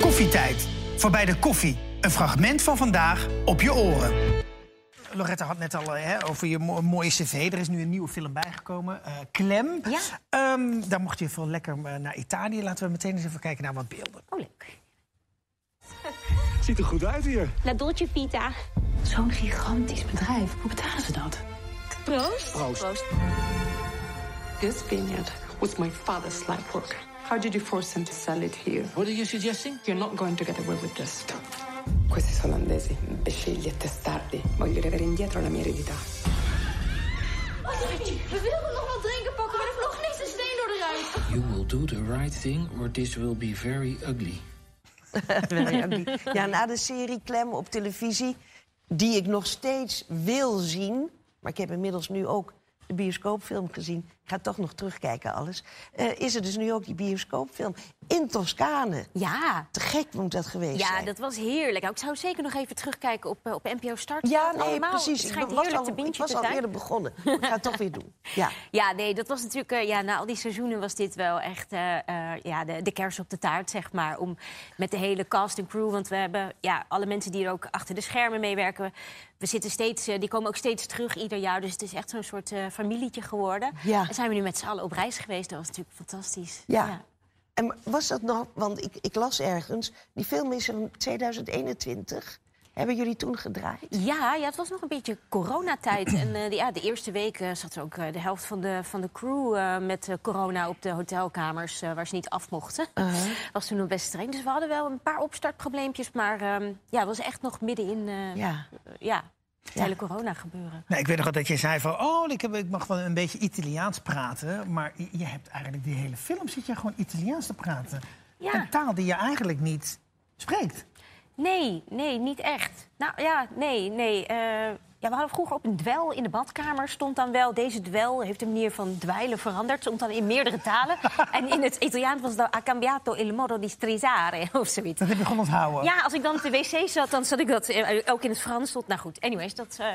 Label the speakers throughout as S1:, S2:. S1: Koffietijd. Voorbij de koffie. Een fragment van vandaag op je oren. Loretta had net al eh, hè, over je mo- mooie cv. Er is nu een nieuwe film bijgekomen, eh, Klem.
S2: Ja.
S1: Ehm, daar mocht je veel lekker eh, naar Italië. Laten we meteen eens even kijken naar wat beelden.
S2: Oh, leuk.
S3: Ziet er goed uit hier.
S2: La Dolce Vita.
S4: Zo'n gigantisch bedrijf. Hoe betalen ze dat?
S2: Proost.
S5: This vineyard was my father's life work. How did you force him to sell it here?
S6: What are you suggesting?
S5: You're not going to get away with this. Questi sono olandesi, imbecilli e testardi. Voglio avere indietro la mia eredità.
S7: We wilden nog wat drinken pakken, maar er vloog niks een steen door de ruit.
S6: You will do the right thing or this will be very ugly.
S8: Ja, na de serie Klem op televisie, die ik nog steeds wil zien... maar ik heb inmiddels nu ook de bioscoopfilm gezien... ik ga toch nog terugkijken alles... eh, is er dus nu ook die bioscoopfilm in Toscane.
S2: Ja.
S8: Te gek moet dat geweest
S2: Ja,
S8: zijn.
S2: dat was heerlijk. Nou, Ik zou zeker nog even terugkijken op, eh, op NPO Start.
S8: Ja,
S2: Het
S8: nee,
S2: allemaal.
S8: precies.
S2: Het
S8: Ik
S2: schijnt
S8: was,
S2: heerlijk
S8: al,
S2: te
S8: ik
S2: bintje
S8: was
S2: te
S8: al
S2: zijn.
S8: eerder begonnen. Ik ga het toch weer doen. Ja.
S2: Ja, nee, dat was natuurlijk... eh, ja, na al die seizoenen was dit wel echt eh, eh, ja, de, de kers op de taart, zeg maar. Om met de hele cast en crew... Want we hebben ja, alle mensen die er ook achter de schermen meewerken... We zitten steeds, eh, die komen ook steeds terug ieder jaar. Dus het is echt zo'n soort eh, familietje geworden.
S8: Ja.
S2: En zijn we nu met z'n allen op reis geweest. Dat was natuurlijk fantastisch.
S8: Ja. En was dat nou, want ik, ik las ergens, die film is in 2021. Hebben jullie toen gedraaid?
S2: Ja, ja, het was nog een beetje coronatijd. En eh, de- ja, de eerste week eh, zat ook eh, de helft van de, van de crew eh, met eh, corona op de hotelkamers... eh, waar ze niet af mochten. was toen nog best streng. Dus we hadden wel een paar opstartprobleempjes. Maar ehm, ja, het was echt nog middenin eh ja.
S8: Ja.
S2: het hele corona gebeuren.
S1: Nou, ik weet nog wel dat je zei van... oh, ik, heb, ik mag wel een beetje Italiaans praten... maar je- je hebt eigenlijk die hele film zit je gewoon Italiaans te praten.
S2: Ja.
S1: Een taal die je eigenlijk niet spreekt.
S2: Nee, nee, niet echt. Nou ja, nee, nee. eh, ja, we hadden vroeger op een dwel in de badkamer stond dan wel... deze dwel heeft de manier van dweilen veranderd. Stond dan in meerdere talen. en in het Italiaans was dat... a cambiato il modo di strisare of zoiets.
S1: Dat heb je gewoon onthouden.
S2: Ja, als ik dan op de wc zat, dan zat ik dat eh, ook in het Frans. Tot, nou goed, anyways, dat, eh,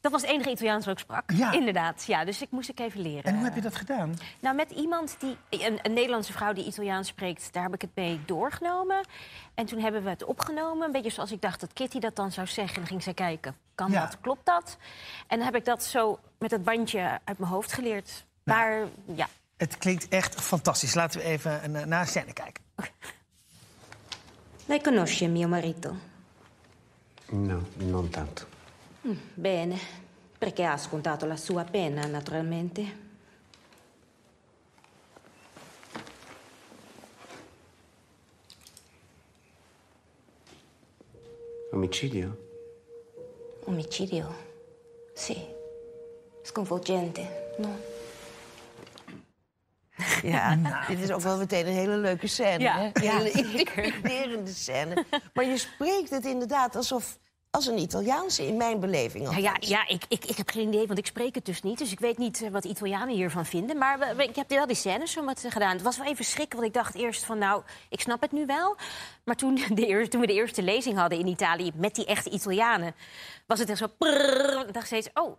S2: dat was het enige Italiaans wat ik sprak.
S1: Ja.
S2: Inderdaad, ja, dus ik moest ik even leren.
S1: En hoe heb je dat gedaan?
S2: Nou, met iemand die, een, een Nederlandse vrouw die Italiaans spreekt, daar heb ik het mee doorgenomen. En toen hebben we het opgenomen, een beetje zoals ik dacht dat Kitty dat dan zou zeggen. En dan ging zij kijken, kan
S1: Ja.
S2: dat, klopt dat? En dan heb ik dat zo met dat bandje uit mijn hoofd geleerd. Maar ja,
S1: Het klinkt echt fantastisch. Laten we even een, eh, naar een scène kijken.
S9: Lei conosce mio marito?
S3: No, non tanto.
S9: Bene, perché ha scontato la sua pena, naturalmente.
S3: Omicidio?
S9: Omicidio? Sì. Sconvolgente, no?
S8: Ja, dit is ook wel meteen een hele leuke scène.
S2: Ja,
S8: hè? Een
S2: ja,
S8: hele
S2: zeker.
S8: intimiderende scène. Maar je spreekt het inderdaad alsof als een Italiaanse in mijn beleving. al.
S2: Nou ja, ja ik, ik, ik heb geen idee, want ik spreek het dus niet. Dus ik weet niet eh, wat Italianen hiervan vinden. Maar we- we- ik heb wel die scènes zo wat eh, gedaan. Het was wel even schrikken, want ik dacht eerst van... nou, ik snap het nu wel. Maar toen, de eerste, toen we de eerste lezing hadden in Italië... met die echte Italianen, was het echt zo... prrrr. ik dacht steeds, oh,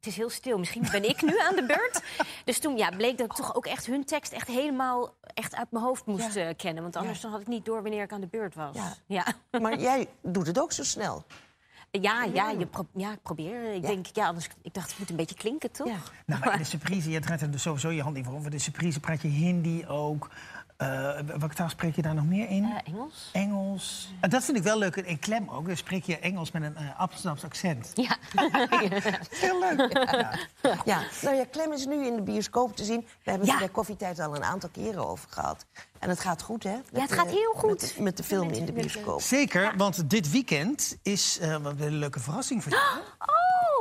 S2: het is heel stil. Misschien ben ik nu aan de beurt. Dus toen ja, bleek dat ik toch ook echt hun tekst echt helemaal echt uit mijn hoofd moest eh, kennen. Want anders dan had ik niet door wanneer ik aan de beurt was.
S8: Ja.
S2: ja.
S8: Maar jij doet het ook zo snel.
S2: Ja, ja, je pro- ja, ik probeer. Ik
S8: Ja.
S2: denk, ja, anders, ik dacht, het moet een beetje klinken, toch?
S8: Ja.
S1: Nou, maar in de surprise, je draait er dus sowieso je hand niet voor. om. Voor de surprise praat je Hindi ook. Eh, welke taal spreek je daar nog meer in?
S2: Eh, Engels?
S1: Engels. Eh, dat vind ik wel leuk. In klem ook. Dan spreek je Engels met een eh Amsterdamse accent.
S2: Ja.
S1: Heel leuk. Ja.
S8: Ja. Nou ja, Clem is nu in de bioscoop te zien. We hebben
S2: Ja.
S8: het er bij koffietijd al een aantal keren over gehad. En het gaat goed, hè? Met
S2: het
S8: de-
S2: gaat heel goed.
S8: Met, de- met de film in de bioscoop.
S1: Zeker, want dit weekend is eh, wat een leuke verrassing voor jou.
S2: Oh!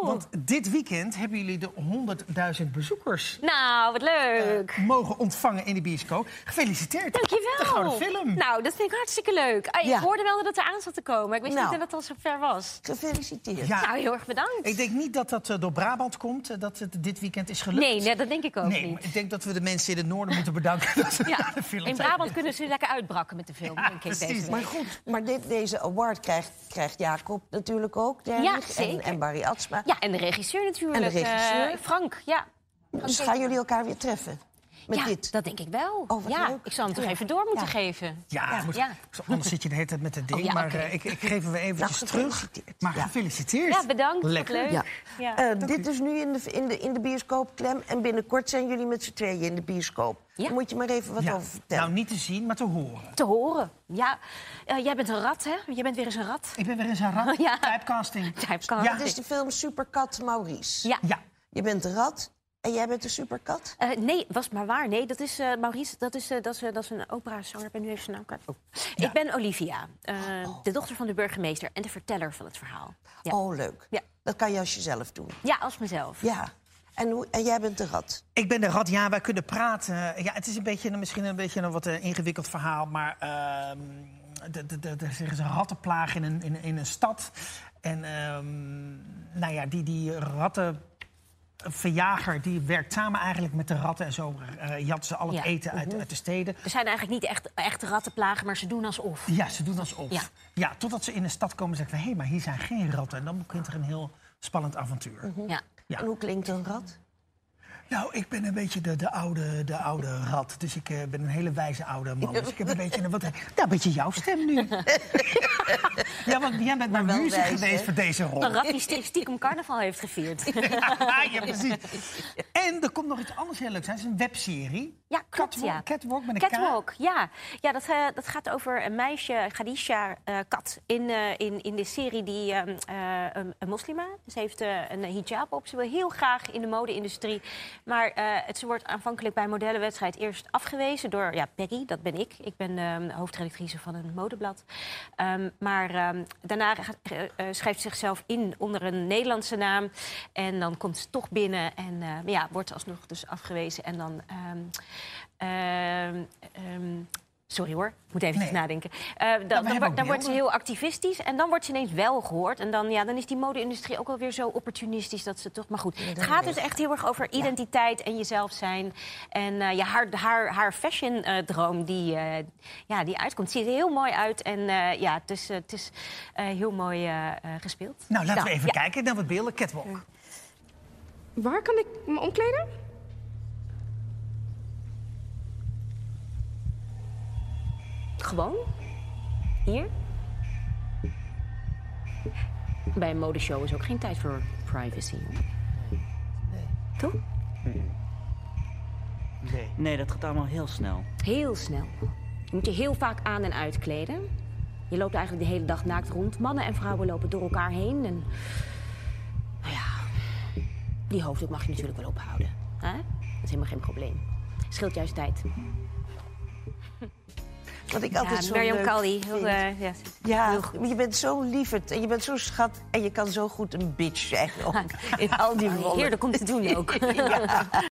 S1: Want dit weekend hebben jullie de 100.000 bezoekers
S2: Nou, wat leuk.
S1: mogen ontvangen in de bioscoop. Gefeliciteerd.
S2: Dankjewel.
S1: De Eh, gouden film.
S2: Nou, dat vind ik hartstikke leuk. Ah,
S8: Ja.
S2: Ik hoorde wel dat het eraan zat te komen. Ik wist
S8: Nou.
S2: niet dat het al zo ver was.
S8: Gefeliciteerd.
S1: Ja.
S2: Nou, heel erg bedankt.
S1: Ik denk niet dat dat eh, door Brabant komt, eh, dat het dit weekend is gelukt.
S2: nee, nee, dat denk ik ook
S1: Nee, maar
S2: niet.
S1: ik denk dat we de mensen in het noorden moeten bedanken dat ze naar
S2: Ja.
S1: de film
S2: In
S1: zijn.
S2: Brabant kunnen ze lekker uitbrakken met de film, denk ik,
S1: precies.
S2: deze
S8: Maar
S2: week.
S8: goed, maar dit, deze award krijgt, krijgt Jacob natuurlijk ook. Derwig,
S2: Ja,
S8: en,
S2: zeker.
S8: en Barry Atsma.
S2: Ja, en de regisseur natuurlijk.
S8: En de regisseur.
S2: eh, Frank, ja.
S8: Dus gaan jullie elkaar weer treffen? met
S2: ja,
S8: dit.
S2: dat denk ik wel.
S8: Oh, wat
S2: ja,
S8: leuk.
S2: ik zou hem toch
S8: Ja.
S2: even door moeten
S8: Ja.
S2: geven.
S1: Ja, het moet-
S2: ja. Oh,
S1: anders zit je de hele tijd met het ding.
S2: ja,
S1: maar
S2: oké.
S1: eh, ik, ik geef hem eventjes
S8: Nou,
S1: terug.
S8: gefeliciteerd.
S1: Maar
S8: Ja.
S1: gefeliciteerd.
S2: Ja, bedankt. Wat
S1: Lekker.
S2: leuk.
S8: Ja.
S2: Ja.
S8: Eh, dit is nu in de, in, de, in de bioscoop, Clem. En binnenkort zijn jullie met z'n tweeën in de bioscoop.
S2: Ja.
S8: Daar moet je maar even wat
S1: Ja.
S8: over vertellen.
S1: Nou, niet te zien, maar te horen.
S2: Te horen. Ja, Eh, jij bent een rat, hè? Jij bent weer eens een rat.
S1: Ik ben weer eens een rat.
S2: Ja.
S1: Typecasting.
S2: Typecasting.
S1: Ja.
S8: Het is de film Superkat Maurice.
S2: Ja.
S1: Ja.
S8: Je bent de rat en jij bent de superkat.
S2: Eh, nee, was maar waar. Nee, dat is eh, Maurice, dat is, eh, dat, is, eh, dat is een operazanger. Ik ben nu even zijn naam kwijt.
S1: Oh.
S2: Ik ben Olivia, eh, de dochter van de burgemeester en de verteller van het verhaal. Ja,
S8: Oh, leuk.
S2: Ja.
S8: Dat kan je als jezelf doen.
S2: ja als mezelf.
S8: Ja. En, hoe, en jij bent de rat.
S1: Ik ben de rat, ja, wij kunnen praten. Ja, het is een beetje, een- misschien een beetje een wat eh, ingewikkeld verhaal, maar ehm, de- de- de- er is een rattenplaag in een, in, een- in een stad. En ehm, nou ja, die, die rattenverjager die werkt samen eigenlijk met de ratten. En zo eh jatten ze al het
S2: Ja.
S1: eten uit, uit de steden.
S2: Er zijn eigenlijk niet echt, echt rattenplagen, maar ze doen alsof.
S1: Ja, ze doen alsof. Ja.
S2: Ja.
S1: ja, totdat ze in een stad komen en zeggen: hé, hey, maar hier zijn geen ratten. En dan begint er een heel spannend avontuur.
S2: Ja.
S1: Ja.
S8: En hoe klinkt een rat?
S1: Nou, ik ben een beetje de, de, oude, de oude rat. Dus ik eh, ben een hele wijze oude man. Dus ik heb een beetje een, wat, nou, een beetje jouw stem nu. ja, want jij bent mijn
S8: wel
S1: muze
S8: wijs,
S1: geweest
S8: hè?
S1: voor deze rol.
S2: Een rat die stie- stiekem carnaval heeft gevierd.
S1: ja, precies. En er komt nog iets anders heel leuks. Het is een webserie.
S2: Ja, klopt,
S1: Catwalk,
S2: ja.
S1: Catwalk met een K.
S2: Catwalk, ja. Ja, dat, eh, dat gaat over een meisje, Khadija eh, Kat, in, eh, in, in de serie die ehm, eh, een, een moslima. Ze heeft eh, een hijab op. Ze wil heel graag in de mode-industrie. Maar eh, het, ze wordt aanvankelijk bij een modellenwedstrijd eerst afgewezen door ja, Peggy, dat ben ik. Ik ben ehm, hoofdredactrice van een modeblad. Ehm, maar ehm, daarna gaat- eh, eh, schrijft ze zichzelf in onder een Nederlandse naam. En dan komt ze toch binnen en eh, ja, wordt alsnog dus afgewezen. En dan... ehm, Ehm, ehm, sorry hoor, ik moet even
S1: Nee. Nou,
S2: nadenken. Eh, dan- dan
S1: hebben
S2: wordt-
S1: ook
S2: dan wordt ze
S1: beelden.
S2: heel activistisch en dan wordt ze ineens wel gehoord. En dan, ja, dan is die mode-industrie ook wel weer zo opportunistisch dat ze toch... Maar goed, het gaat dus echt heel erg over identiteit en jezelf zijn. En eh, ja, haar, haar, haar fashion-droom die, eh, ja, die uitkomt, ziet er heel mooi uit. En eh, ja, het is, eh, het is eh, heel mooi eh, eh, gespeeld.
S1: Nou, laten we even
S2: ja.
S1: kijken naar wat beelden. Catwalk.
S7: Waar kan ik me omkleden?
S2: Gewoon? Hier? Bij een modeshow is ook geen tijd voor privacy. hoor. Toch?
S10: Nee, dat gaat allemaal heel snel.
S2: Heel snel. Je moet je heel vaak aan- en uitkleden. Je loopt eigenlijk de hele dag naakt rond. Mannen en vrouwen lopen door elkaar heen. En... Nou ja, die hoofddoek mag je natuurlijk wel ophouden. Hè? Dat is helemaal geen probleem. Scheelt juist tijd.
S8: Wat ik altijd zo
S2: Marion
S8: leuk
S2: Callie.
S8: vind.
S2: Heel, eh, ja.
S8: Ja,
S2: heel goed.
S8: maar je bent zo lieverd en je bent zo schat en je kan zo goed een bitch zijn ook. In al die rollen.
S2: Heerlijk om te doen ook.